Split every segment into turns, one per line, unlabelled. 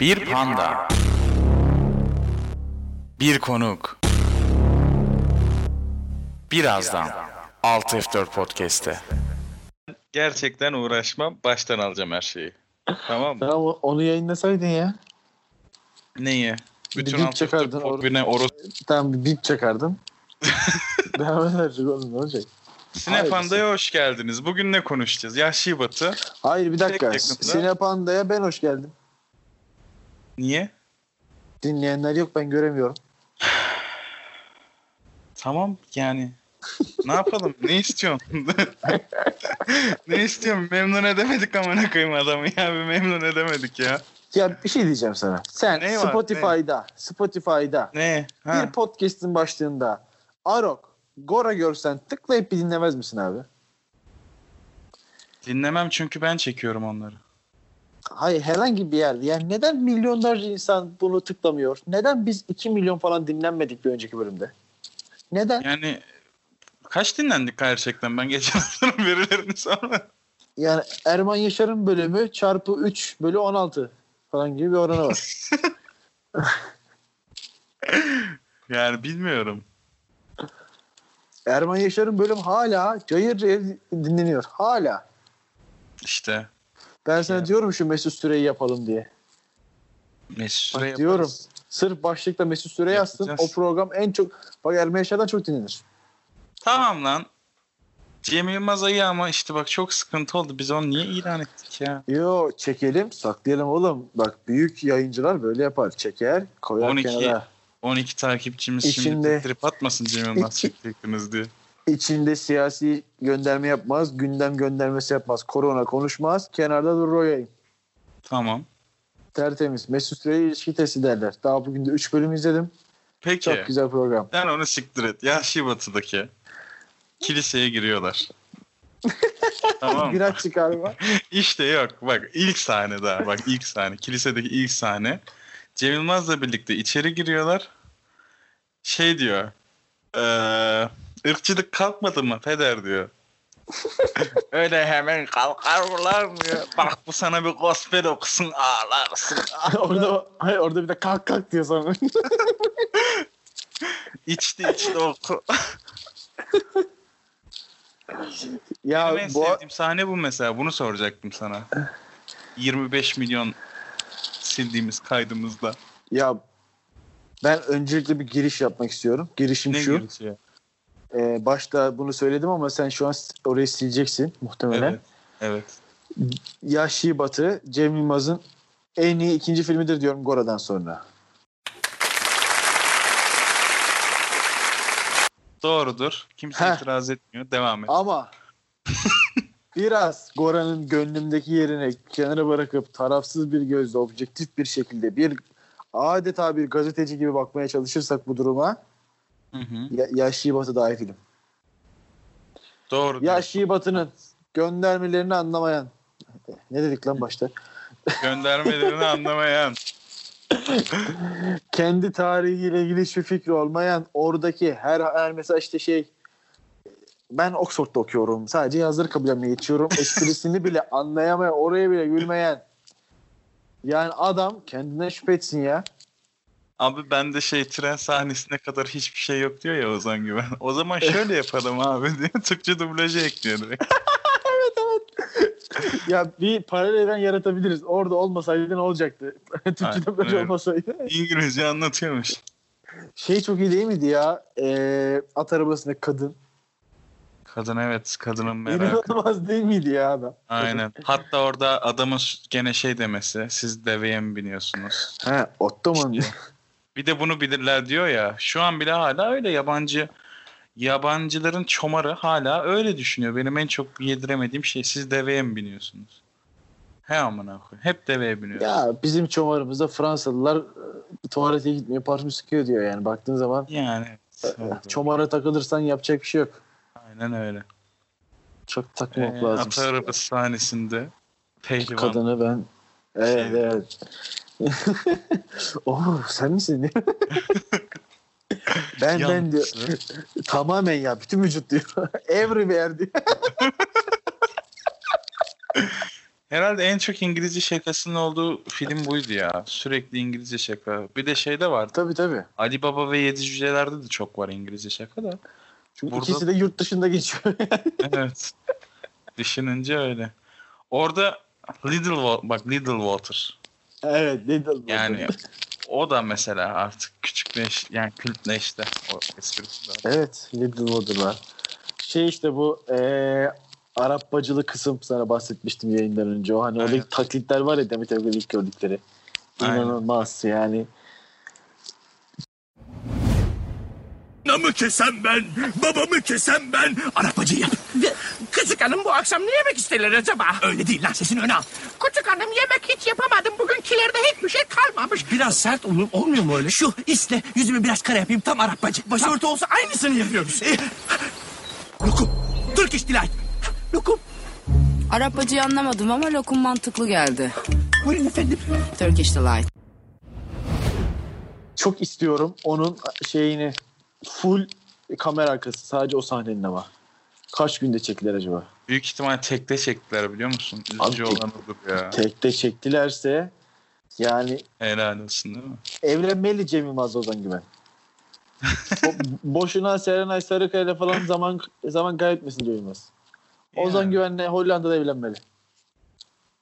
Bir panda. Bir konuk. Birazdan. 6F4 Podcast'te. Gerçekten uğraşmam. Baştan alacağım her şeyi. Tamam mı?
Ya o- onu yayınlasaydın ya.
Neyi? Bütün
Bir bip
6F4
çakardın orada.
Podbine oros.
Tamam bir bip çakardın. Devam edercik oğlum ne olacak?
Sinefanda'ya hoş geldiniz. Bugün ne konuşacağız? Yahşi Batı.
Hayır
Şey
bir dakika.
Tek yakında.
Sinepanda'ya ben hoş geldim.
Niye?
Dinleyenler yok ben göremiyorum.
Tamam yani. ne yapalım? Ne istiyorsun? ne istiyorum? Memnun edemedik amına koyayım adamı ya. Bir memnun edemedik ya.
Ya bir şey diyeceğim sana. Sen
Ne var,
Spotify'da, Spotify'da
Ne? Ha.
bir podcast'in başlığında Arok, Gora görsen tıklayıp bir dinlemez misin abi?
Dinlemem çünkü ben çekiyorum onları.
Hayır herhangi bir yerde. Yani neden milyonlarca insan bunu tıklamıyor? Neden biz 2 milyon falan dinlenmedik bir önceki bölümde? Neden?
Yani kaç dinlendik gerçekten? Ben geçen haftanın verilerini sonra.
Yani Erman Yaşar'ın bölümü çarpı 3 bölü 16 falan gibi bir oranı var.
Yani bilmiyorum.
Erman Yaşar'ın bölüm hala cayır cayır dinleniyor. Hala.
İşte
Ben sana
Ya.
diyorum şu Mesut Süreyi yapalım diye.
Mesut
Bak
Süre
diyorum.
yaparız.
Sırf başlıkta Mesut Süre yazsın. O
Yapacağız.
program en çok bak Erman Yaşar'dan çok dinlenir.
Tamam lan. Cem Yılmaz ayı ama işte bak çok sıkıntı oldu. Biz onu niye ilan ettik ya?
Yo çekelim saklayalım oğlum. Bak büyük yayıncılar böyle yapar. Çeker koyar
12.
kenara.
12 takipçimiz şimdi
İçinde-
bir trip atmasın Cem Yılmaz
İçi-
çektiktiniz diye.
İçinde siyasi gönderme yapmaz. Gündem göndermesi yapmaz. Korona konuşmaz. Kenarda durur o yayın.
Tamam.
Tertemiz. Mesut Süre'ye ilişki testi derler. Daha bugün de 3 bölüm izledim.
Peki.
Çok güzel program.
Sen onu siktir et. Yahşi Batı'daki kiliseye giriyorlar. tamam mı?
Biraz çıkar var.
İşte yok bak ilk sahne daha bak ilk sahne kilisedeki ilk sahne Cem Yılmaz'la birlikte içeri giriyorlar şey diyor eee ırkçılık kalkmadı mı Feder diyor öyle hemen kalkar mı lan diyor bak bu sana bir gospel okusun ağlarsın
orada, hayır, orada bir de kalk kalk diyor sonra.
içti içti oku
ya
Benim en
bu
sevdiğim sahne bu mesela bunu soracaktım sana 25 milyon sildiğimiz kaydımızda
ya ben öncelikle bir giriş yapmak istiyorum. Girişim
ne şey?
şu.
girişi
e, başta bunu söyledim ama sen şu an s- orayı sileceksin muhtemelen.
evet evet
Yahşi Batı Cem Yılmaz'ın en iyi ikinci filmidir diyorum Gora'dan sonra.
Doğrudur. Kimse
Heh.
itiraz etmiyor. Devam et.
Ama biraz Gora'nın gönlümdeki yerine kenara bırakıp tarafsız bir gözle objektif bir şekilde bir adeta bir gazeteci gibi bakmaya çalışırsak bu duruma
Hı hı.
ya- Yahşi Batı daha iyi film.
Doğru. diyor.
Yahşi Batı'nın göndermelerini anlamayan ne dedik lan başta? şey-
Göndermelerini anlamayan.
kendi tarihiyle ilgili hiçbir fikri olmayan oradaki her, her mesela işte şey ben Oxford'da okuyorum. Sadece yazları kabilemeye geçiyorum. Esprisini bile anlayamayan, oraya bile gülmeyen. Yani adam kendine şüphe etsin ya.
Abi ben de şey tren sahnesine kadar hiçbir şey yok diyor ya Ozan Güven. O zaman şöyle yapalım abi diye Türkçe dublajı ekliyor direkt.
Ya bir paralel evren yaratabiliriz. Orada olmasaydı ne olacaktı?
Aynen
Türkçe'de böyle
öyle.
olmasaydı.
İngilizce anlatıyormuş.
Şey çok iyi değil miydi ya? Ee, at arabasında kadın.
Kadın evet kadının merakı.
İnanılmaz değil miydi ya adam?
Aynen. Hatta orada adamın gene şey demesi. Siz deveye mi biniyorsunuz?
He, Ottoman.
Bir de bunu bilirler diyor ya. Şu an bile hala öyle yabancı yabancıların çomarı hala öyle düşünüyor. Benim en çok yediremediğim şey siz deveye mi biniyorsunuz? He amına koyayım. Hep deveye biniyoruz. Yani,
Ya bizim çomarımızda Fransalılar e, tuvalete gitmiyor, parfüm sıkıyor diyor yani. Baktığın zaman
evet,
e,
evet.
çomara takılırsan yapacak bir şey yok.
Aynen öyle.
Çok
Ee,
takmak lazım.
Atı arabası sahnesinde pehlivan.
Kadını ben Evet,
Şey-
evet. Oo, sen misin? ben ben diyor.
Yalnız.
Tamamen ya bütün vücut diyor. Everywhere diyor.
Herhalde en çok İngilizce şakasının olduğu film buydu ya. Sürekli İngilizce şaka. Bir de şey de vardı.
Tabii tabii.
Ali Baba ve Yedi Cüceler'de de çok var İngilizce şaka da.
Çünkü
Burada-
ikisi de yurt dışında geçiyor.
Evet. Düşününce öyle. Orada Little Wa- bak Little Water.
evet. Little
Yani o da mesela artık küçükleş yani kültleşti o esprisi de.
Evet, Little Water'lar. Şey işte bu eee Arap bacılı kısım sana bahsetmiştim yayından önce. O hani
Aynen.
oradaki taklitler var ya Demet Evgen'in ilk gördükleri.
Aynen.
İnanılmaz yani.
Anamı kesen ben, babamı kesen ben, arapacıyım.
Küçük hanım bu akşam ne yemek isterler acaba?
Öyle değil lan sesini öne al.
Küçük hanım yemek hiç yapamadım. Bugünkilerde hiçbir şey kalmamış.
Biraz sert olur, olmuyor mu öyle? Şu isle yüzümü biraz kara yapayım tam arapacı. Başörtü olsa aynısını yapıyoruz.
Ee,
Lokum, Türk iş delight. Lokum,
Arap acıyı anlamadım ama lokum mantıklı geldi.
buyurun efendim.
Turkish Delight.
Çok istiyorum onun şeyini full kamera arkası sadece o sahnenin ama. Kaç günde çekiler acaba?
Büyük ihtimal tekte çektiler biliyor musun?
Abi
Üzücü
tek-
olan odur ya.
Tekte çektilerse yani
Helal olsun değil mi?
evlenmeli Cem Yılmaz Ozan Güven. Bo- boşuna Serenay Sarıkaya'yla falan zaman zaman kaybetmesin diyor Yılmaz. Ozan
Yani.
Güven'le Hollanda'da evlenmeli.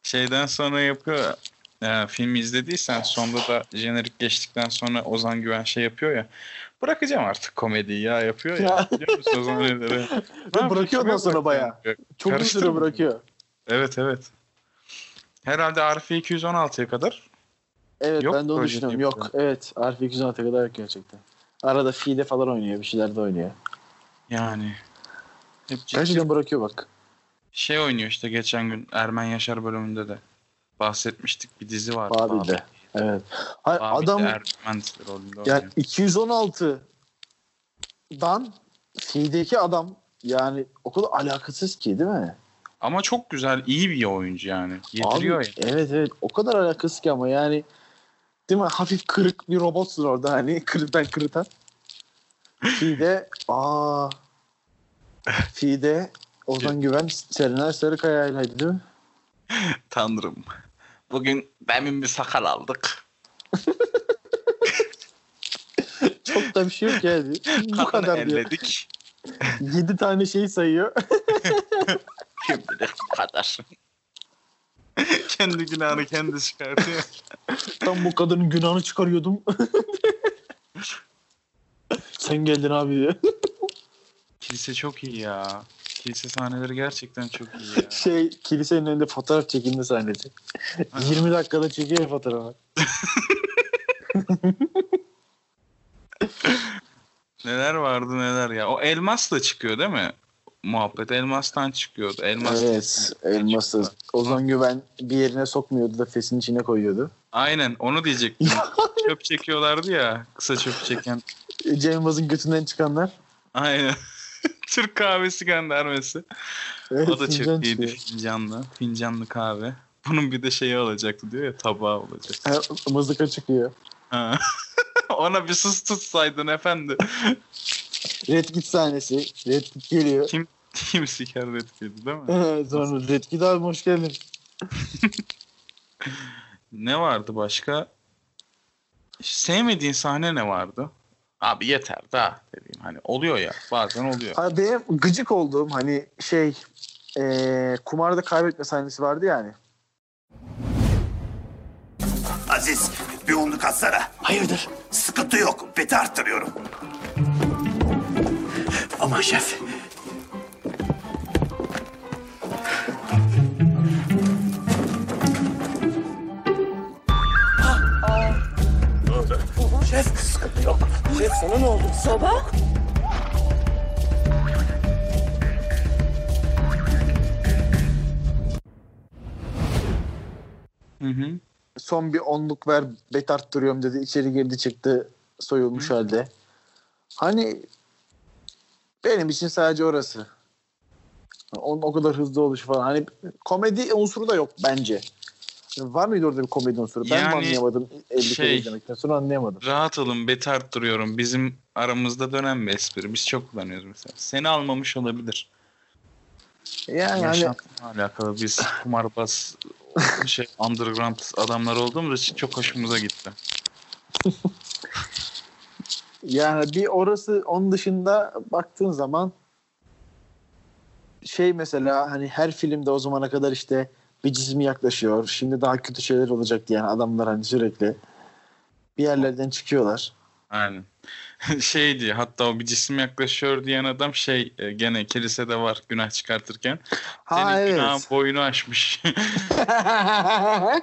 Şeyden sonra yapıyor. E, filmi izlediysen sonda da jenerik geçtikten sonra Ozan Güven şey yapıyor ya. Bırakacağım artık komediyi ya yapıyor ya.
Ya.
Biliyor musun Ozan Güven'i? Ben şey
bırakıyor ondan
bırakacağım
sonra bayağı.
diyor.
Çok uzun
Karıştırma.
süre bırakıyor.
Evet evet. Herhalde Arife 216'ya kadar.
Evet
Yok
ben de onu
proje
düşünüyorum.
yapıyor.
Yok evet Arif 216 kadar yok gerçekten. Arada Fide falan oynuyor bir şeyler de oynuyor.
Yani. Hep ciddi-
Gerçekten bırakıyor bak.
Şey oynuyor işte geçen gün Ermen Yaşar bölümünde de bahsetmiştik bir dizi var.
Babil'de. Evet. Hayır,
Babil'de
adam
Ermen rolünde oynuyor.
yani 216 dan Fide'deki adam yani o kadar alakasız ki değil mi?
Ama çok güzel, iyi bir oyuncu yani.
Abi,
Getiriyor ya.
Evet evet o kadar alakasız ki ama yani değil mi hafif kırık bir robotsun orada hani kırıtan kırıtan. Fide aa Fide Ozan Güven Serenay Sarıkaya'ylaydı değil mi?
Tanrım. Bugün demin bir sakal aldık.
Çok da bir şey yok yani. Bu kadar diyor. 7 tane şey sayıyor.
Şimdilik bu kadar. kendi günahını kendi çıkartıyor.
Tam bu kadının günahını çıkarıyordum. Sen geldin abi diyor.
Kilise çok iyi ya. Kilise sahneleri gerçekten çok iyi ya.
Şey kilisenin önünde fotoğraf çekilme sahnesi. 20 dakikada çekiyor fotoğrafı.
Neler vardı neler ya. O elmas da çıkıyor değil mi? Muhabbet elmastan çıkıyordu. Elmas
Evet, elması. Ozan Güven bir yerine sokmuyordu da fesin içine koyuyordu.
Aynen onu diyecektim. çöp çekiyorlardı ya. Kısa çöp çeken.
Cem Yılmaz'ın götünden çıkanlar.
Aynen. Türk kahvesi göndermesi.
Evet,
O da
fincan
çok iyiydi
çıkıyor.
fincanlı. Fincanlı kahve. Bunun bir de şeyi olacaktı diyor ya tabağı olacak.
Ha, mızıka çıkıyor.
Ha. Ona bir sus tutsaydın efendi.
Red Kit sahnesi. Red Kit geliyor.
Kim siker etkiledi değil mi?
Sonra Red Kit abi hoş geldin.
Ne vardı başka? Sevmediğin sahne ne vardı? Abi yeter daha dediğim hani oluyor ya bazen oluyor.
Ha, benim gıcık olduğum hani şey eee, kumarda kaybetme sahnesi vardı yani.
Aziz bir onluk atsana.
Hayırdır?
Sıkıntı yok. Beti arttırıyorum.
Aman şef.
Şef sıkıntı yok. Şef sana ne oldu?
Hı hı.
Son bir onluk ver bet arttırıyorum dedi. İçeri girdi çıktı soyulmuş halde. Hani benim için sadece orası. Onun o kadar hızlı oluşu falan. Hani komedi unsuru da yok bence. Var mıydı orada bir komedi unsuru? Ben
Yani
mi anlayamadım 50 kere
şey-
izlemekten sonra anlayamadım.
Rahat olun beti arttırıyorum. Bizim aramızda dönen bir espri. Biz çok kullanıyoruz mesela. Seni almamış olabilir.
Yani hani
Yaşantımla alakalı biz kumarbaz şey underground adamlar olduğumuz için çok hoşumuza gitti.
Yani bir orası onun dışında baktığın zaman şey mesela hani her filmde o zamana kadar işte bir cizmi yaklaşıyor. Şimdi daha kötü şeyler olacak diyen adamlar hani sürekli bir yerlerden çıkıyorlar.
Aynen. Şeydi hatta o bir cisim yaklaşıyor diyen adam şey e, gene kilisede var günah çıkartırken.
Ha
Senin
evet.
günahın boyunu aşmış.
evet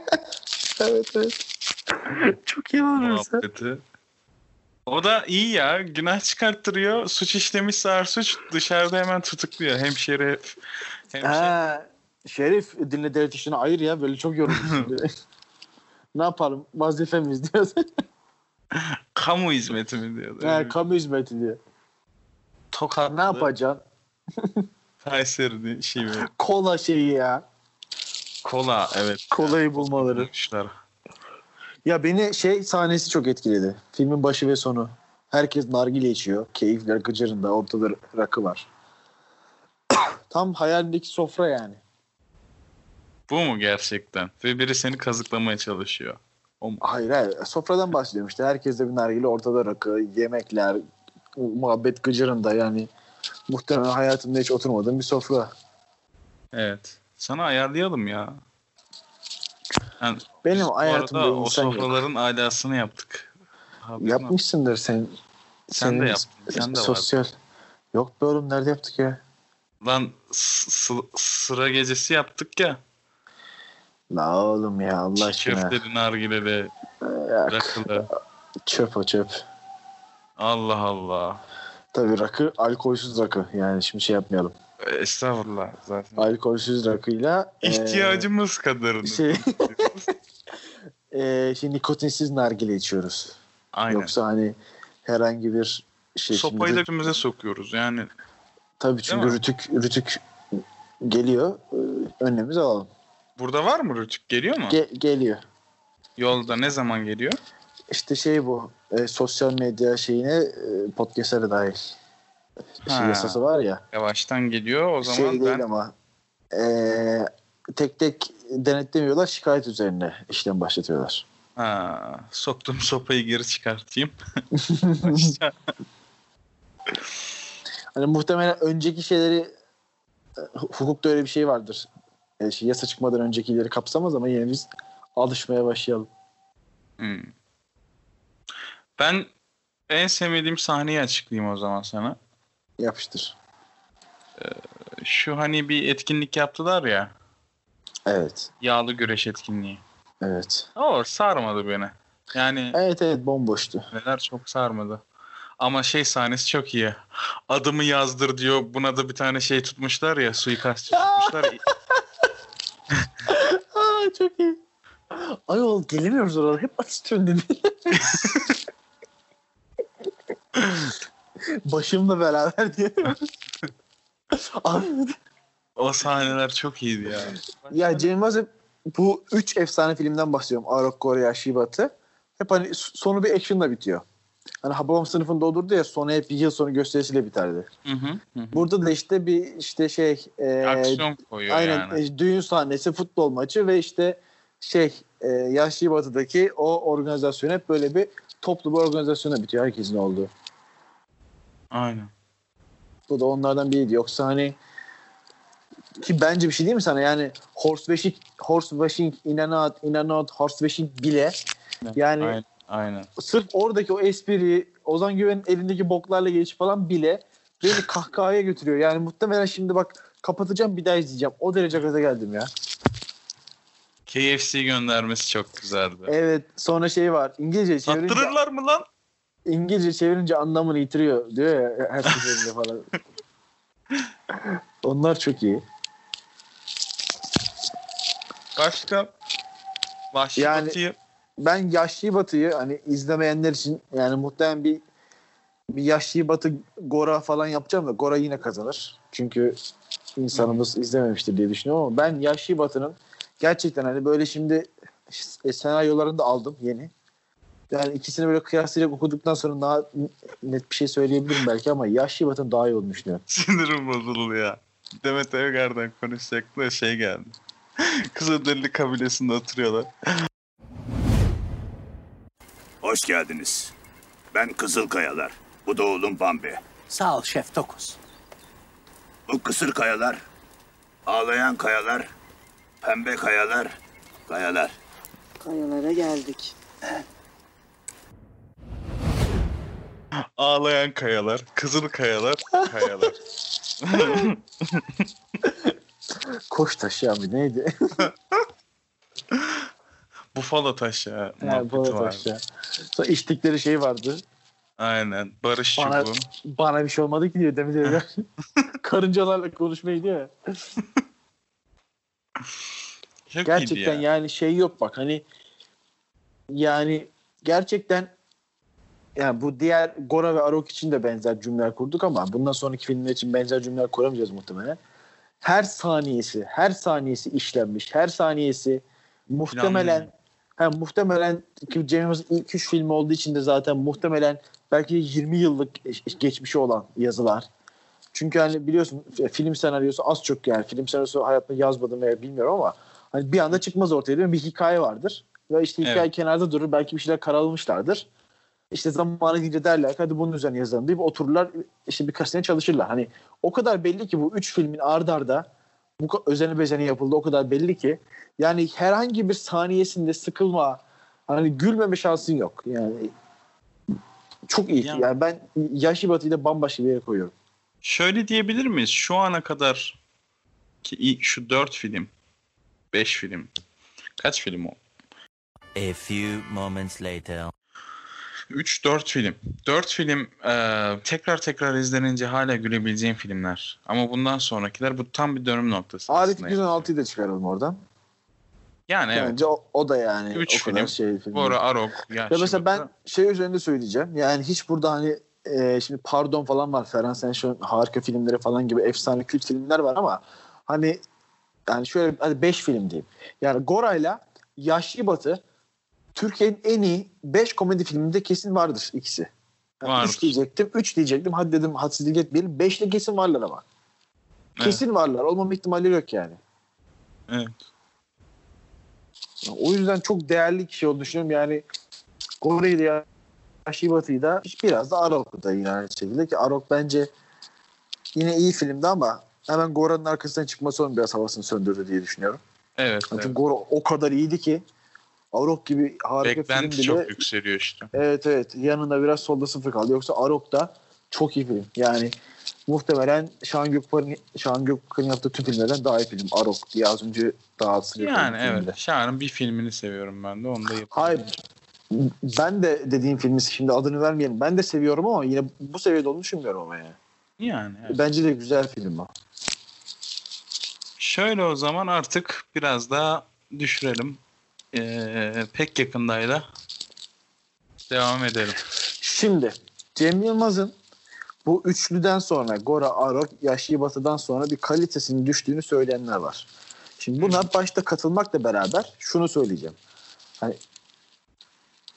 evet. Çok iyi olursa.
muhabbeti. O da iyi ya. Günah çıkarttırıyor. Suç işlemişse ağır suç dışarıda hemen tutukluyor. Hem şeref hem şey.
Ha, Şerif dinle devlet işini ayır ya böyle çok yorulmuşum. ne yapalım vazifemiz diyor.
kamu hizmeti mi diyordu.
Ha, kamu hizmeti diyor.
Tokat
Ne yapacaksın?
Kayseri diye şey böyle.
Kola şeyi ya.
Kola evet.
Kolayı bulmaları.
Bulmuşlar.
Ya beni şey sahnesi çok etkiledi. Filmin başı ve sonu. Herkes nargile içiyor. Keyifler gıcırında. Ortada rakı var. Tam hayalimdeki sofra yani.
Bu mu gerçekten? Ve biri seni kazıklamaya çalışıyor.
Hayır hayır. Sofradan bahsediyorum işte. Herkes de bir nargile ortada rakı. Yemekler. Muhabbet gıcırında yani. Muhtemelen hayatımda hiç oturmadığım bir sofra.
Evet. Sana ayarlayalım ya. Yani
Benim
bu
hayatımda
arada o
insan yok.
sofraların alasını yaptık. Haberin olsun.
Yapmışsındır sen.
Sen
senin
de yaptın, sen de
sosyal. Yok be oğlum nerede yaptık ya?
Lan s- s- sıra gecesi yaptık ya.
La oğlum ya Allah aşkına.
Köfteli, nargileli,
Ya,
rakılı.
çöp o çöp.
Allah Allah.
Tabii rakı alkolsüz rakı. Yani şimdi şey yapmayalım.
Estağfurullah zaten.
Alkolsüz rakıyla eee,
İhtiyacımız kadarını.
e, şey eee, şimdi nikotinsiz nargile içiyoruz.
Aynen.
Yoksa hani herhangi bir şey
Sopayı da
şimdi,
önümüze sokuyoruz yani.
tabii çünkü
Değil mi?
rütük rütük geliyor. Eee, Önlemimizi alalım.
Burada var mı Rütük? Geliyor mu?
Ge- geliyor.
Yolda ne zaman geliyor?
İşte şey bu eee, sosyal medya şeyine eee, podcast'e de dahil. Şey
Ha.
yasası var ya.
Yavaştan geliyor o zaman
şey
ben
değil ama eee, tek tek denetlemiyorlar şikayet üzerine işlem başlatıyorlar.
ha, soktum sopayı geri çıkartayım.
Hani muhtemelen önceki şeyleri e, hu- hukukta öyle bir şey vardır. E, şey, yasa çıkmadan öncekileri kapsamaz ama yine biz alışmaya başlayalım.
Hmm. Ben en sevmediğim sahneyi açıklayayım o zaman sana.
Yapıştır.
Şu hani bir etkinlik yaptılar ya.
Evet.
Yağlı güreş etkinliği.
Evet.
O sarmadı beni. Yani
Evet evet bomboştu.
neler çok sarmadı. Ama şey sahnesi çok iyi. Adımı yazdır diyor. Buna da bir tane şey tutmuşlar ya. Suikastçı tutmuşlar.
Aa çok iyi. Ayol gelemiyoruz orada. Hep atıştırın dedi. Başımla beraber diye. Abi
o sahneler çok iyiydi ya.
Ya Cem Yılmaz hep bu üç efsane filmden bahsediyorum. Arok, Korea, Shibat'ı. Hep hani s- sonu bir action'la bitiyor. Hani Hababam sınıfında olurdu ya sonu hep yıl sonu gösterisiyle biterdi.
Hı hı, hı hı.
Burada da işte bir işte şey e,
Aksiyon koyuyor
aynen
yani.
e, düğün sahnesi, futbol maçı ve işte şey e, Yaşlı Batı'daki o organizasyon hep böyle bir toplu bir organizasyona bitiyor herkesin olduğu.
Aynen.
Bu da onlardan biriydi. Yoksa hani ki bence bir şey değil mi sana? Yani horse washing, horse washing, in and out, in and out, horse washing bile yani
Aynen. Aynen.
sırf oradaki o espri Ozan Güven'in elindeki boklarla gelişi falan bile beni kahkahaya götürüyor. Yani muhtemelen şimdi bak kapatacağım bir daha izleyeceğim. O derece gaza geldim ya.
KFC göndermesi çok güzeldi.
Evet sonra şey var İngilizce çevirince,
Sattırırlar mı lan?
İngilizce çevirince anlamını yitiriyor diyor ya her seferinde falan. Onlar çok iyi.
Başka? Vahşi
Yani-
Batı'yı
ben Yaşlı Batı'yı hani izlemeyenler için yani muhtemelen bir bir Yaşlı Batı Gora falan yapacağım da Gora yine kazanır. Çünkü insanımız izlememiştir diye düşünüyorum ama ben Yaşlı Batı'nın gerçekten hani böyle şimdi e, senaryolarını da aldım yeni. Yani ikisini böyle kıyaslayacak okuduktan sonra daha net bir şey söyleyebilirim belki ama Yaşlı Batı'nın daha iyi olduğunu düşünüyorum.
sinirim bozuldu ya. Demet Evgar'dan konuşacaktı da şey geldi. Kızılderili kabilesinde oturuyorlar.
Hoş geldiniz. Ben Kızılkayalar. Bu da oğlum Bambi.
Sağ ol Şef Tokus.
Bu kısır kayalar, ağlayan kayalar, pembe kayalar, kayalar.
Kayalara geldik.
Ağlayan kayalar, kızıl kayalar, kayalar.
Koş taşı abi neydi?
Bufalo taşı. ha,
yani
muhabbeti
bana
vardı.
taş ya. Sonra içtikleri şey vardı.
Aynen. Barış
Bana,
çubuğu.
bana bir şey olmadı ki diyor Demir Evgar. Karıncalarla konuşmaya gidiyor ya.
Çok iyiydi
Gerçekten
ya.
yani şey yok bak hani yani gerçekten yani bu diğer Gora ve Arok için de benzer cümleler kurduk ama bundan sonraki filmler için benzer cümleler kuramayacağız muhtemelen. Her saniyesi, her saniyesi işlenmiş, her saniyesi muhtemelen ha, muhtemelen ki James'in ilk üç filmi olduğu için de zaten muhtemelen belki de 20 yıllık eş- eş- geçmişi olan yazılar. Çünkü hani biliyorsun f- film senaryosu az çok yani film senaryosu hayatımda yazmadım veya bilmiyorum ama hani bir anda çıkmaz ortaya değil mi? Bir hikaye vardır. Ve işte hikaye
Evet.
kenarda durur. Belki bir şeyler karalamışlardır. İşte zamanı gelince derler ki, hadi bunun üzerine yazalım deyip otururlar işte birkaç sene çalışırlar. Hani o kadar belli ki bu üç filmin ard arda bu ka- özeni bezeni yapıldı o kadar belli ki yani herhangi bir saniyesinde sıkılma hani gülmeme şansın yok. Yani çok iyi.
Yani-
Yani, ben Yaşı Batı'yı da bambaşka bir yere koyuyorum.
Şöyle diyebilir miyiz? Şu ana kadar ki ilk- şu dört film, beş film, kaç film o?
A few moments later.
3-4 film. 4 film e, tekrar tekrar izlenince hala gülebileceğin filmler. Ama bundan sonrakiler bu tam bir dönüm noktası
Arif
aslında.
Güzel da çıkaralım oradan.
Yani evet.
Bence o, o da yani
Üç
o kadar
film.
şey film.
Bora Arok. Ya
Ya mesela ben şey üzerinde söyleyeceğim. Yani hiç burada hani e, şimdi Pardon falan var. Ferhan Şenşoğlu'nun harika filmleri falan gibi efsane kült filmler var ama hani yani şöyle hadi 5 film diyeyim. Yani Gora'yla Yaşlı Batı Türkiye'nin en iyi 5 komedi filminde kesin vardır ikisi. Yani
Vardır.
3 diyecektim, 3 diyecektim. Hadi dedim hadsizlik etmeyelim. 5'te kesin varlar ama.
Evet.
Kesin varlar. Olmama ihtimali yok yani.
Evet.
O yüzden çok değerli kişi olduğunu düşünüyorum. Yani Kore'yi de Yaşlı Batı'yı da biraz da Arok'u da yine aynı şekilde ki Arok bence yine iyi filmdi ama hemen Gora'nın arkasından çıkması onun biraz havasını söndürdü diye düşünüyorum.
evet,
Çünkü
evet.
Gora o kadar iyiydi ki Arok gibi harika
Beklenti
film bile
çok yükseliyor işte.
evet evet yanında biraz solda sıfır kaldı. Yoksa Arok da çok iyi film. Yani muhtemelen Şahan Gökpınar'ın Şahan Gökpınar'ın yaptığı tüm filmlerden daha iyi film Arok diye az önce daha
Yani evet. Şahan'ın bir filmini seviyorum ben de. Onu da yapayım.
Hayır. Ben de dediğim filmi şimdi adını vermeyelim. Ben de seviyorum ama yine bu seviyede olduğunu düşünmüyorum ama yani.
Yani evet.
Bence de güzel film o.
Şöyle o zaman artık biraz daha düşürelim. Ee, pek yakındayla devam edelim.
Şimdi Cem Yılmaz'ın bu üçlüden sonra Gora Arok, Yaşlı Batı'dan sonra bir kalitesinin düştüğünü söyleyenler var. Şimdi buna başta katılmakla beraber şunu söyleyeceğim. Hani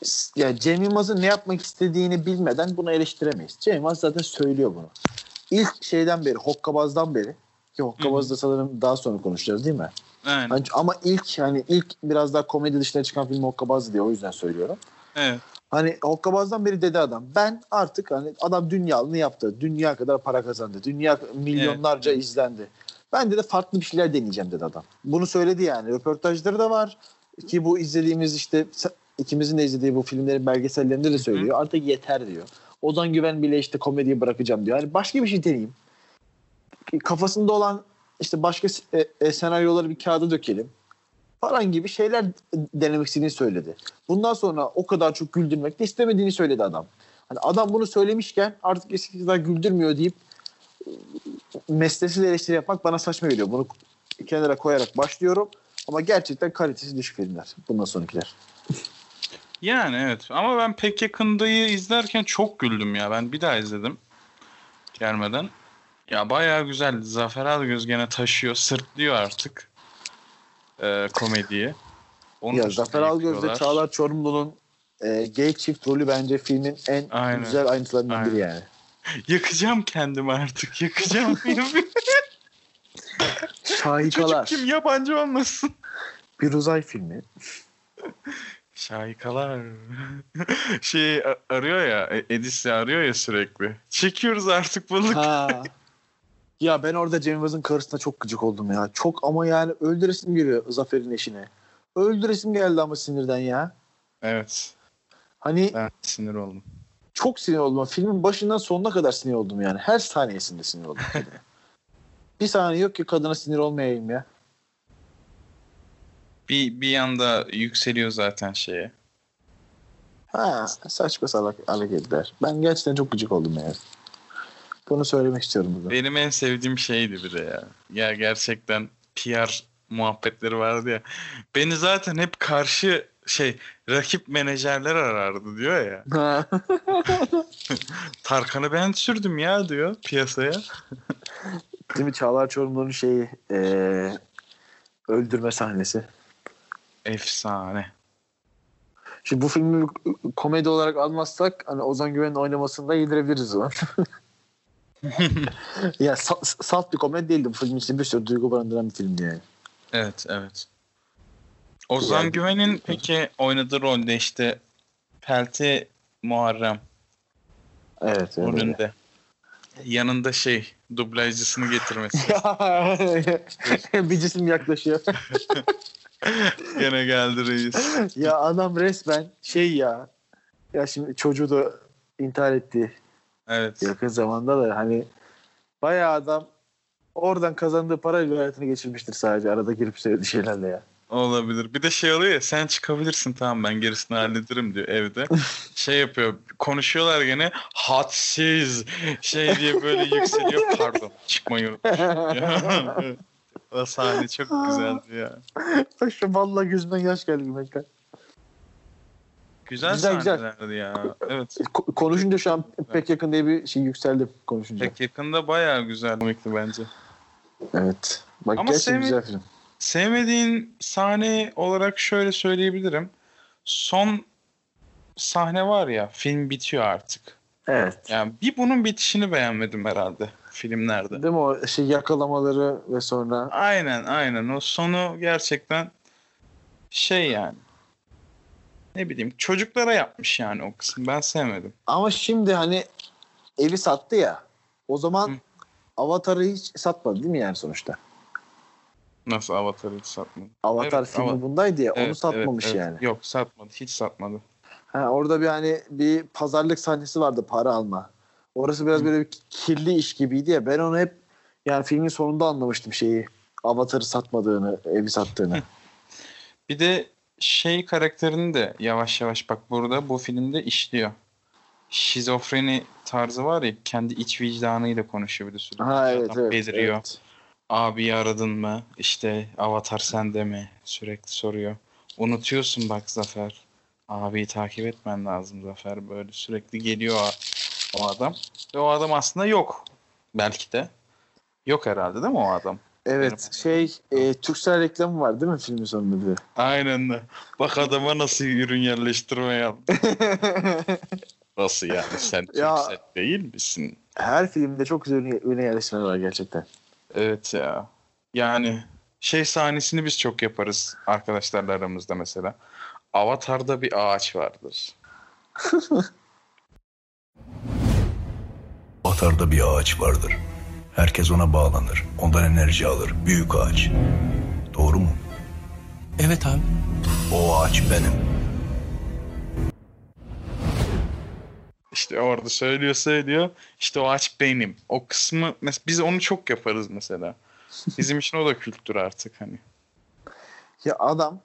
s- ya Cem Yılmaz'ın ne yapmak istediğini bilmeden bunu eleştiremeyiz. Cem Yılmaz zaten söylüyor bunu. İlk şeyden beri, Hokkabaz'dan beri ki Hokkabaz'da sanırım daha sonra konuşacağız değil mi?
Aynen.
Hani- ama ilk hani ilk biraz daha komedi dışına çıkan film Hokkabaz diye o yüzden söylüyorum.
Evet.
Hani hokkabazdan beri dedi adam. Ben artık hani adam dünyalını yaptı. Dünya kadar para kazandı. Dünya milyonlarca izlendi. Ben de farklı bir şeyler deneyeceğim dedi adam. Bunu söyledi yani. Röportajları da var. Ki bu izlediğimiz işte se- ikimizin de izlediği bu filmlerin belgesellerinde de söylüyor. Artık yeter diyor. Ozan Güven bile işte komediyi bırakacağım diyor. Yani başka bir şey deneyeyim. E, Kafasında olan işte başka s- e- e, senaryoları bir kağıda dökelim falan gibi şeyler denemek istediğini söyledi. Bundan sonra o kadar çok güldürmek de istemediğini söyledi adam. Hani adam bunu söylemişken artık eskisi kadar güldürmüyor deyip e, meslesi de eleştiri yapmak bana saçma geliyor. Bunu kenara koyarak başlıyorum. Ama gerçekten kalitesi düşük filmler. Bundan sonrakiler.
Yani evet ama ben pek yakındayı izlerken çok güldüm ya. Ben bir daha izledim gelmeden. Ya bayağı güzel. Zafer Algöz gene taşıyor, sırtlıyor artık e, komediyi. Onun
ya
üstüne
Zafer Algöz'de
yıkıyorlar.
Çağlar Çorumlu'nun e, gay çift rolü bence filmin en
Aynen.
güzel ayrıntılarından biri yani.
Yakacağım kendimi artık, yakacağım.
Şahikalar.
Çocuk kim yabancı olmasın.
Bir uzay filmi.
Şahikalar. şey a- arıyor ya e- Edis'i arıyor ya sürekli. Çekiyoruz artık balık.
Ha. Ya ben orada Cem Yılmaz'ın karısına çok gıcık oldum ya. Çok ama yani öldüresim geliyor Zafer'in eşine. Öldüresim geldi ama sinirden ya.
Evet.
Hani
Ben sinir oldum.
çok sinir oldum. Filmin başından sonuna kadar sinir oldum yani. Her saniyesinde sinir oldum. filme. bir saniye yok ki kadına sinir olmayayım ya.
Bir, bir yanda yükseliyor zaten şeye.
Ha, saçma salak hareketler. Ben gerçekten çok gıcık oldum yani. Bunu söylemek istiyorum burada.
Benim en sevdiğim şeydi bir de ya. Ya gerçekten PR muhabbetleri vardı ya. Beni zaten hep karşı şey rakip menajerler arardı diyor ya.
Ha.
Tarkan'ı ben sürdüm ya diyor piyasaya.
Değil mi Çağlar Çorumlu'nun şeyi eee, öldürme sahnesi.
Efsane.
Şimdi bu filmi komedi olarak almazsak hani Ozan Güven'in oynamasını da yedirebiliriz o. ya sa- salt bir komedi değildi bu film için bir sürü duygu barındıran bir filmdi yani.
Evet evet. Ozan
Yani-
Güven'in peki oynadığı rolde işte Pelti Muharrem
Evet. evet, evet.
rolünde. Yanında şey dublajcısını getirmesi.
bir cisim yaklaşıyor.
Gene geldi reis.
ya adam resmen şey ya. Ya şimdi çocuğu da intihar etti
Evet.
yakın zamanda da hani bayağı adam oradan kazandığı parayla hayatını geçirmiştir sadece arada girip söylediği şeylerle ya.
Olabilir. Bir de şey oluyor ya sen çıkabilirsin tamam ben gerisini hallederim diyor evde. Şey yapıyor konuşuyorlar gene hadsiz şey diye böyle yükseliyor pardon çıkmayı unutmuşum. o sahne çok güzeldi ya.
Şu vallahi gözümden yaş geldi gülmekten.
Güzel,
Güzel, güzel.
sahnelerdi ya. Evet.
Ko- Konuşunca şu an pek yakın diye bir şey yükseldim konuşunca.
Pek yakında bayağı güzel komikti bence.
Evet. Bak
Ama
gerçekten
sevmi-
güzel film.
Sevmediğin sahne olarak şöyle söyleyebilirim. Son sahne var ya film bitiyor artık.
Evet.
Yani bir bunun bitişini beğenmedim herhalde filmlerde.
Değil mi o şey yakalamaları ve sonra
Aynen aynen o sonu gerçekten şey yani. Ne bileyim çocuklara yapmış yani o kısım ben sevmedim.
ama şimdi hani evi sattı ya. O zaman
Hı.
Avatar'ı hiç satmadı değil mi yani sonuçta?
Nasıl Avatar'ı hiç satmadı?
Avatar
Evet,
filmi
ama-
bundaydı ya onu
Evet,
satmamış
evet, evet.
yani.
Yok satmadı hiç satmadı.
Ha, orada bir hani bir pazarlık sahnesi vardı para alma. Orası biraz böyle bir kirli iş gibiydi ya. Ben onu hep yani filmin sonunda anlamıştım şeyi. Avatar'ı satmadığını, evi sattığını.
Bir de şey karakterini de yavaş yavaş bak burada bu filmde işliyor. Şizofreni tarzı var ya kendi iç vicdanıyla konuşuyor bir de sürekli.
ha evet
Adam
evet.
Beliriyor.
evet.
Abi aradın mı? İşte avatar sende mi? Sürekli soruyor. Unutuyorsun bak Zafer. Abiyi takip etmen lazım Zafer. Böyle sürekli geliyor o- o adam. Ve o adam aslında yok. Belki de. Yok herhalde değil mi o adam?
Evet şey e, Türksel reklamı var değil mi filmin sonunda bir de?
Aynen de. Bak adama nasıl ürün yerleştirme yaptı. nasıl yani sen
Ya-
Türkset değil misin?
Her filmde çok güzel ürün- ürüne yerleştirme var gerçekten.
Evet ya. Yani şey sahnesini biz çok yaparız arkadaşlarla aramızda mesela. Avatar'da bir ağaç vardır.
Batarda bir ağaç vardır. Herkes ona bağlanır. Ondan enerji alır. Büyük ağaç. Doğru mu?
Evet abi.
O ağaç benim.
İşte orada söylüyor söylüyor. İşte o ağaç benim. O kısmı mes- biz onu çok yaparız mesela. Bizim için o da kültür artık hani.
Ya adam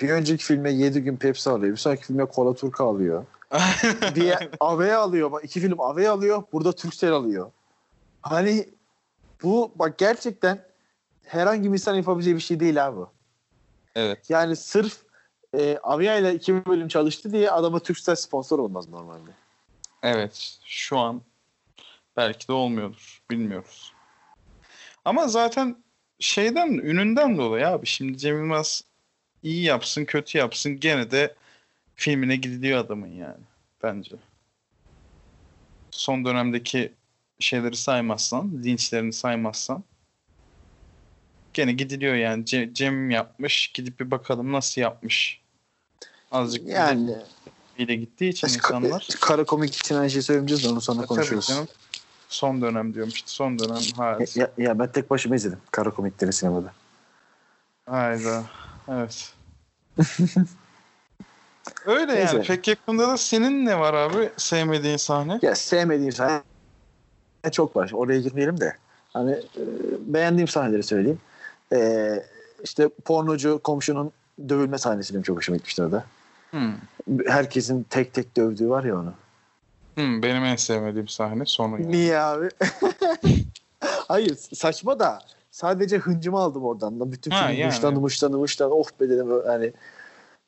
bir önceki filme 7 gün Pepsi alıyor. Bir sonraki filme Kola Turka alıyor. bir Ave alıyor. Bak iki film Ave alıyor. Burada Türksel alıyor. Hani bu bak gerçekten herhangi bir insan yapabileceği bir şey değil abi.
Evet.
Yani sırf e, Avia ile iki bölüm çalıştı diye adama Türksel sponsor olmaz normalde.
Evet. Şu an belki de olmuyordur. Bilmiyoruz. Ama zaten şeyden ününden dolayı abi şimdi Cem Yılmaz iyi yapsın kötü yapsın gene de filmine gidiliyor adamın yani bence. Son dönemdeki şeyleri saymazsan, linçlerini saymazsan Gene gidiliyor yani. Ce- Cem yapmış. Gidip bir bakalım nasıl yapmış. Azıcık
Yani
ile gittiği için
Biz ka- e,
insanlar. E,
kara komik için her şeyi söyleyeceğiz de onu sonra konuşuruz.
Tabii canım. Son dönem diyormuş. Son dönem. Hayır.
E, Ya, ya ben tek başıma izledim kara komikleri sinemada.
Hayda. Evet. Öyle
Neyse.
yani. Pek yakında da senin ne var abi sevmediğin sahne?
Ya sevmediğim sahne çok var. Oraya girmeyelim de. Hani e, beğendiğim sahneleri söyleyeyim. E, işte pornocu komşunun dövülme sahnesi benim çok hoşuma gitmişti orada.
Hmm.
Herkesin tek tek dövdüğü var ya onu.
Hmm, benim en sevmediğim sahne sonu yani.
Niye abi? Hayır saçma da sadece hıncımı aldım oradan. da. Bütün
Ha,
film
yani.
muştan muştan muştan of Oh be dedim yani.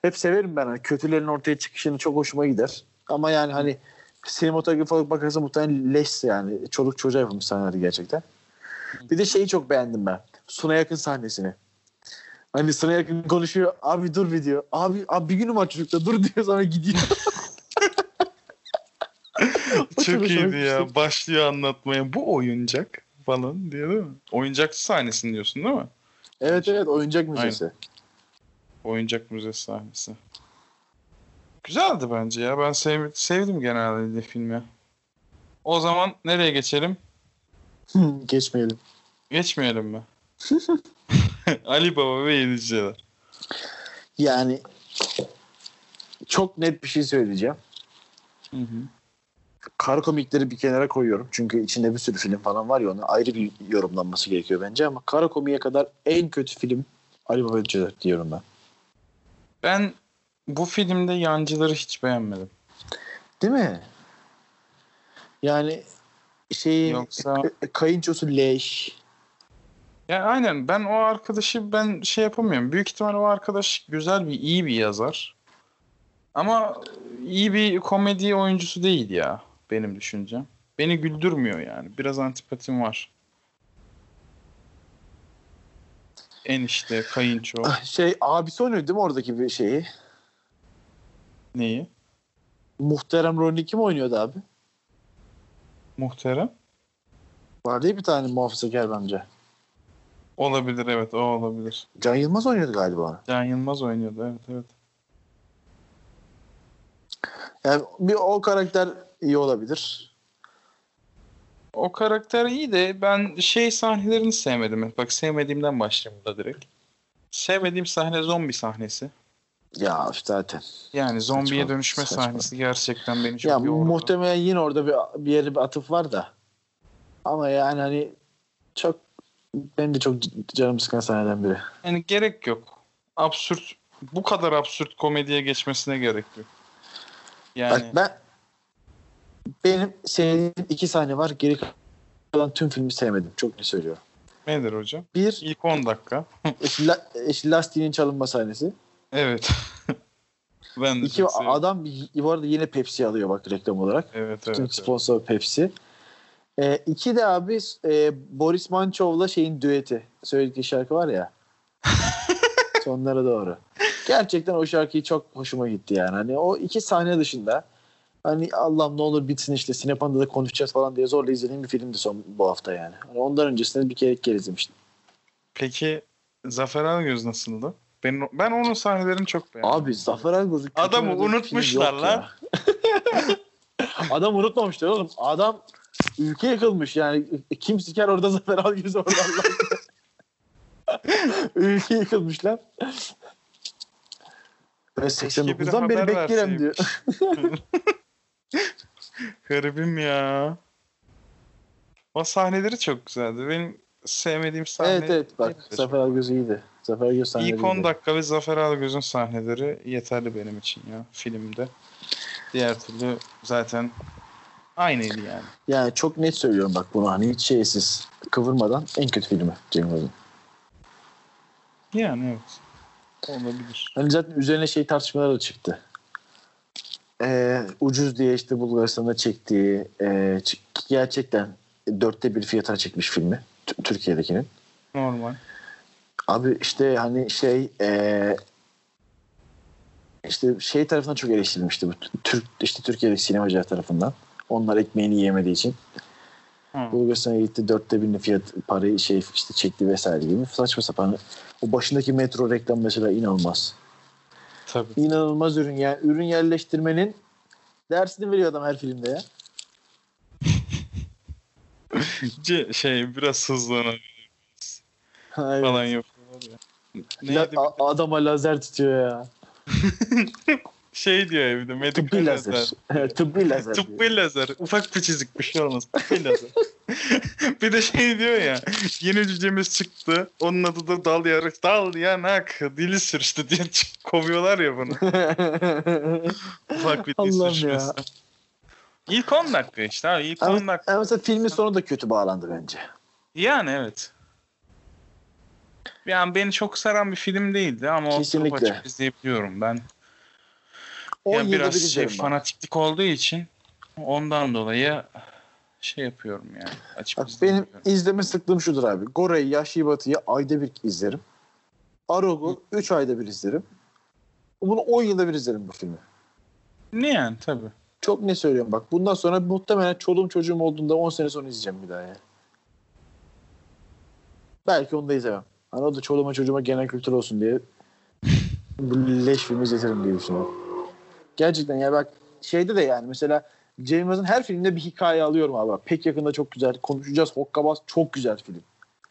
Hep severim ben hani kötülerin ortaya çıkışını çok hoşuma gider. Ama yani hani sinematografi olarak bakarsan muhtemelen leş yani. Çoluk çocuğa yapılmış sahneler gerçekten. Bir de şeyi çok beğendim ben. Suna yakın sahnesini. Hani Suna yakın konuşuyor. Abi dur bir diyor. Abi, abi bir günüm var çocukta dur diyor sonra gidiyor.
Çok iyiydi
Hoşuma
ya. Başlıyor anlatmaya. Bu oyuncak falan diye değil mi? Oyuncak sahnesini diyorsun değil mi?
evet evet oyuncak müzesi.
Oyuncak müzesi sahnesi. Güzeldi bence ya. Ben sev- sevdim genelde de filmi. O zaman nereye geçelim?
Geçmeyelim.
Geçmeyelim mi? Ali Baba ve Yediciler.
Yani çok net bir şey söyleyeceğim.
Hı hı.
Kar komikleri bir kenara koyuyorum. Çünkü içinde bir sürü film falan var ya ona ayrı bir yorumlanması gerekiyor bence ama kara komiğe kadar en kötü film Ali Baba Cezar diyorum ben.
Ben bu filmde yancıları hiç beğenmedim.
Değil mi? Yani şey
Yoksa-
kayınçosu leş.
Yani aynen ben o arkadaşı ben şey yapamıyorum. Büyük ihtimal o arkadaş güzel bir iyi bir yazar. Ama iyi bir komedi oyuncusu değil ya benim düşüncem. Beni güldürmüyor yani. Biraz antipatim var. Enişte, kayınço
Şey abisi oynuyor değil mi oradaki bir şeyi?
neyi?
Muhterem rolünü kim oynuyordu abi?
Muhterem.
Vardı ya bir tane muhafazakar bence.
Olabilir evet o olabilir.
Can Yılmaz oynuyordu galiba onu.
Can Yılmaz oynuyordu evet evet.
Yani bir o karakter iyi olabilir.
O karakter iyi de ben şey sahnelerini sevmedim. Bak sevmediğimden başlayayım da direkt. Sevmediğim sahne zombi sahnesi.
Ya zaten.
Yani zombiye
Saçma,
dönüşme
saçma.
sahnesi gerçekten beni çok
ya
yordu.
muhtemelen yine orada bir, bir yere bir atıf var da. Ama yani hani çok benim de çok canım sıkan sahneden biri.
yani gerek yok. Absürt. Bu kadar absürt komediye geçmesine gerek yok. Yani
Bak ben benim sevdiğim iki sahne var. Geri kalan tüm filmi sevmedim. Çok ne söylüyorum.
nedir hocam?
Bir,
İlk 10 dakika.
la, işte lastiğinin çalınma sahnesi.
Evet. ben de
İki,
çok seviyorum.
adam bu arada yine Pepsi alıyor bak reklam olarak.
Evet
Tüm
evet. evet.
sponsor Pepsi. E, iki de abi e, Boris Mançov'la şeyin düeti. Söylediği şarkı var ya. sonlara doğru. Gerçekten o şarkıyı çok hoşuma gitti yani. Hani o iki sahne dışında hani Allah'ım ne olur bitsin işte Sinepan'da da konuşacağız falan diye zorla izlediğim bir filmdi son bu hafta yani. Hani ondan öncesinde bir kere iki kere izlemiştim.
Peki Zafer Algöz nasıldı? Ben, ben onun sahnelerini çok beğendim.
Abi Zafer Algöz'ün kötü
Adamı
oynadığı bir film
unutmuşlar
yok
lan.
ya. Adam unutmamışlar oğlum. Adam ülke yıkılmış yani. Kim siker orada Zafer Algöz orada Allah aşkına. ülke yıkılmış lan. Ben
biri
89'dan beri
haber
beklerim diyor.
Garibim ya. O sahneleri çok güzeldi. Benim sevmediğim sahne.
evet evet bak Zafer Algöz iyiydi. Zafer Algöz sahneleri
İlk 10
iyiydi.
dakika ve Zafer Algöz'ün sahneleri yeterli benim için ya filmde. Diğer türlü zaten aynıydı yani.
Yani çok net söylüyorum bak bunu hani hiç şeysiz kıvırmadan en kötü filmi Cem Yılmaz'ın.
Yani evet. Olabilir.
Hani zaten üzerine şey tartışmalar da çıktı. Ee, ucuz diye işte Bulgaristan'da çektiği e, ç- gerçekten dörtte bir fiyatına çekmiş filmi. T- Türkiye'dekinin.
Normal.
Abi işte hani şey e, işte şey tarafından çok eleştirilmişti bu. Türk, işte Türkiye'deki sinemacılar tarafından. Onlar ekmeğini yiyemediği için. Bulgaristan'a gitti dörtte birini fiyat parayı şey işte çekti vesaire gibi saçma sapan. O başındaki metro reklam mesela inanılmaz.
Tabii.
İnanılmaz ürün yani ürün yerleştirmenin dersini veriyor adam her filmde ya.
C- şey biraz hızlanabilir
Aynen.
falan yapıyorlar ya.
La-
Neydi?
a- adama lazer tutuyor ya.
şey diyor evde medikal
Tıbbi
lazer.
lazer. Tıbbi lazer. diyor.
Tıbbi lazer. Ufak bir çizik bir şey olmaz. Tıbbi lazer. bir de şey diyor ya. Yeni cücemiz çıktı. Onun adı da dal yarık. Dal yanak. Dili sürçtü diye çık- kovuyorlar ya bunu. Ufak bir dil
Allah'ım ya.
sürçmesi. İlk 10 dakika işte abi. İlk 10
ama,
dakika.
ama mesela filmin sonu da kötü bağlandı bence.
Yani evet. Yani beni çok saran bir film değildi ama oturup
Kesinlikle.
açıp izleyebiliyorum ben.
10
yani
yılda bir
biraz şey,
izlerim ben.
fanatiklik olduğu için ondan dolayı şey yapıyorum yani. Açıp
Bak, Benim
izleyemiyorum.
izleme sıklığım şudur abi. Gore'yi, Yahşi Batı'yı ayda bir izlerim. Arog'u 3 ayda bir izlerim. Bunu 10 yılda bir izlerim bu filmi.
Ne yani tabii.
Çok ne söylüyorum bak. Bundan sonra muhtemelen çoluğum çocuğum olduğunda 10 sene sonra izleyeceğim bir daha ya. Belki onu da izlemem. Hani o da çoluğuma çocuğuma genel kültür olsun diye bu leş filmi izletirim diye düşünüyorum. Gerçekten ya bak şeyde de yani mesela Cem Yılmaz'ın her filminde bir hikaye alıyorum abi. Bak, pek yakında çok güzel konuşacağız. Hokkabaz çok güzel film.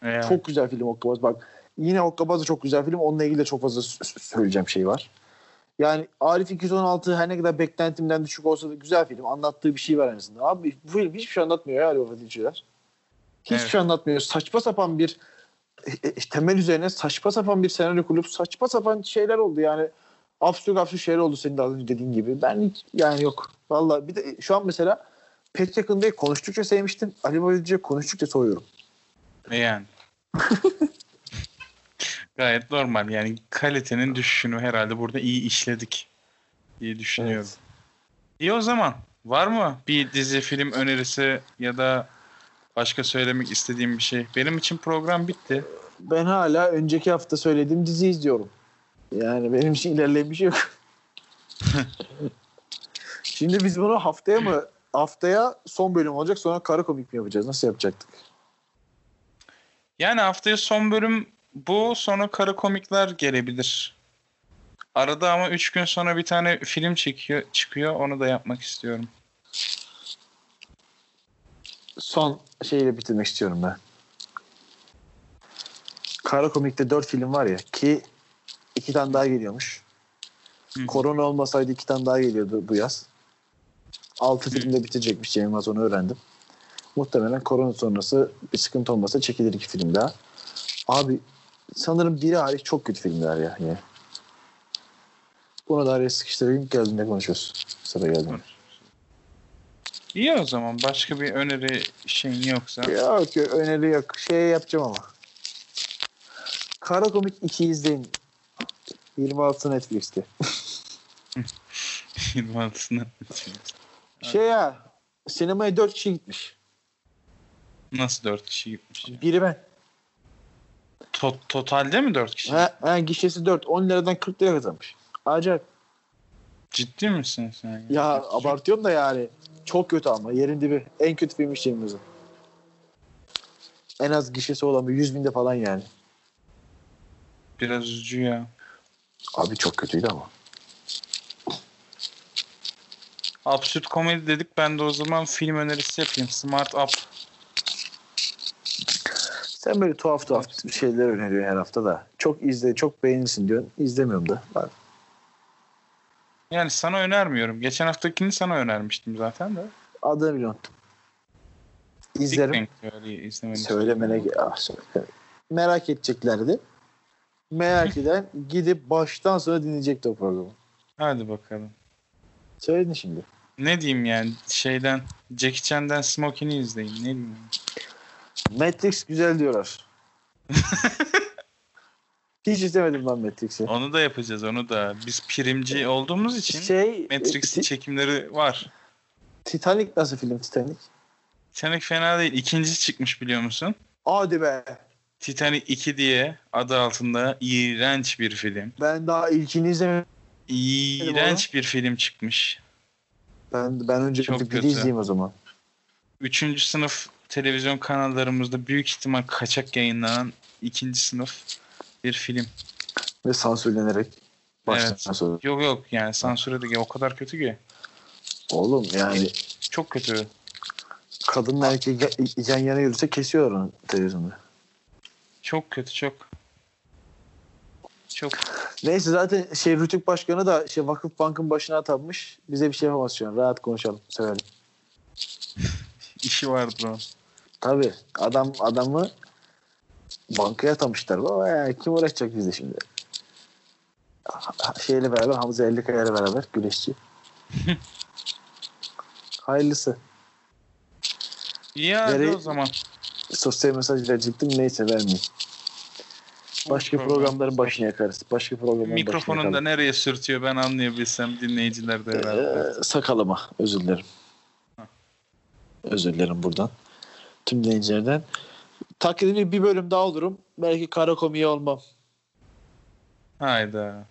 Yani.
Çok güzel film Hokkabaz. Bak yine Hokkabaz da çok güzel film. Onunla ilgili de çok fazla s- s- söyleyeceğim şey var. Yani Arif 216 her ne kadar beklentimden düşük olsa da güzel film. Anlattığı bir şey var en azından. Abi bu film hiçbir şey anlatmıyor ya Arif Fatihçiler. Hiçbir
Evet.
şey anlatmıyor. Saçma sapan bir e, e, temel üzerine saçma sapan bir senaryo kurup saçma sapan şeyler oldu yani. Absürt absürt şeyler oldu senin de az önce dediğin gibi. Ben hiç yani yok. Vallahi bir de e, şu an mesela Pet Yakın'dayı konuştukça sevmiştim. Ali Babalıcı'yı konuştukça soğuyorum.
Yani. Gayet normal yani kalitenin düşüşünü herhalde burada iyi işledik diye düşünüyorum. İyi o zaman var mı bir dizi film önerisi ya da başka söylemek istediğim bir şey? Benim için program bitti.
ben hala önceki hafta söylediğim dizi izliyorum. Yani benim için ilerleyen bir şey yok. Şimdi biz bunu haftaya mı? Haftaya son bölüm olacak sonra kara komik mi yapacağız? Nasıl yapacaktık?
Yani haftaya son bölüm bu sonra kara komikler gelebilir. Arada ama 3 gün sonra bir tane film çekiyor, çıkıyor onu da yapmak istiyorum.
Son şeyle bitirmek istiyorum ben. Kara komikte 4 film var ya ki iki tane daha geliyormuş.
Hı.
Korona olmasaydı iki tane daha geliyordu bu yaz. 6 filmde bitecekmiş Cem Yılmaz onu öğrendim. Muhtemelen korona sonrası bir sıkıntı olmasa çekilir iki film daha. Abi sanırım biri hariç çok kötü filmler ya. Yine. Bunu da araya sıkıştırayım geldiğinde konuşuyoruz. Sıra geldiğinde.
İyi o zaman başka bir öneri şeyin yoksa.
Yok yok öneri yok. Şey yapacağım ama. Kara Komik 2 izleyin. 26 Netflix'te.
Film altına atayım.
Şey ya sinemaya 4 kişi gitmiş.
Nasıl dört kişi gitmiş? ya?
Biri ben.
To- totalde mi dört kişi?
Ha, ha, gişesi 4. 10 liradan 40 lira kazanmış. Acayip.
Ciddi misin sen? ya?
Ya abartıyorum da yani. Çok kötü ama. Yerin dibi. En kötü filmi şeyimizin. En az gişesi olan bir 100 binde falan yani.
Biraz üzücü ya.
Abi çok kötüydü ama.
Absürt komedi dedik. Ben de o zaman film önerisi yapayım. Smart Up.
Sen böyle tuhaf tuhaf şeyler öneriyorsun her hafta da. Çok izle, çok beğenirsin diyorsun. İzlemiyorum da. Ben
Yani sana önermiyorum. Geçen haftakini sana önermiştim zaten de.
Adını bile unuttum.
Big
İzlerim.
Bang Theory'yi izlemeni
Söylemene ge- ah, söyle. Merak edeceklerdi. Merak eden gidip baştan sona dinleyecekti o programı.
Hadi bakalım.
Söyledin şimdi.
Ne diyeyim yani şeyden Jackie Chan'den Smokey'ni izleyin. Ne diyeyim? yani?
Matrix güzel diyorlar. Hiç izlemedim ben Matrix'i.
Onu da yapacağız onu da. Biz primci olduğumuz için
Şey,
Matrix
e, Ti-
çekimleri var.
Titanic nasıl film Titanic?
Titanic fena değil. İkincisi çıkmış biliyor musun?
Hadi be.
Titanic 2 diye adı altında iğrenç bir film.
Ben daha ilkini izlemedim.
İğrenç bir film çıkmış.
Ben, ben önce
Çok
bir
kötü.
izleyeyim o zaman.
Üçüncü sınıf televizyon kanallarımızda büyük ihtimal kaçak yayınlanan ikinci sınıf bir film.
Ve sansürlenerek baştan
Evet.
sonra.
Yok yok yani sansüre de o kadar kötü ki.
Oğlum yani
Çok kötü.
kadınla erkek ya- yan yana yürüse kesiyor onu televizyonda.
Çok kötü çok. Çok.
Neyse zaten şey Rütük Başkanı da şey Vakıf Bank'ın başına atanmış. Bize bir şey yapamaz şu an. Rahat konuşalım. Söyleyelim.
işi vardı onun.
Tabii adam adamı bankaya atamışlar. Baba ya, kim uğraşacak bizle şimdi? Ha- ha- Şeyle beraber Hamza Ellikaya'yla beraber güreşçi. Hayırlısı.
İyi hadi
Nereye-
o zaman.
Sosyal mesaj verecektim. Neyse vermeyeyim. Başka
Program.
programların başına yakarız. Başka programların başına
Mikrofonun da nereye sürtüyor ben anlayabilsem dinleyiciler de herhalde.
Ee, sakalıma özür dilerim. Özür dilerim buradan. Tüm dinleyicilerden. Taklidimi bir bölüm daha olurum. Belki kara komiği olmam.
Hayda.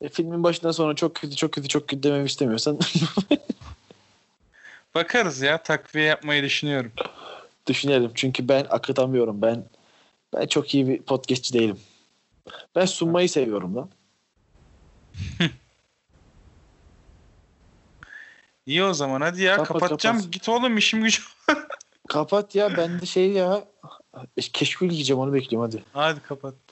E, filmin başından sonra çok kötü çok kötü çok kötü dememi istemiyorsan
Bakarız ya takviye yapmayı düşünüyorum.
düşünelim. Çünkü ben akıtamıyorum. Ben ben çok iyi bir podcastçi değilim. Ben sunmayı seviyorum lan.
İyi o zaman hadi ya
Kapat,
kapatacağım.
kapat.
Git oğlum işim gücüm.
Kapat ya ben de şey ya keşkül yiyeceğim onu bekliyorum hadi.
Hadi kapat.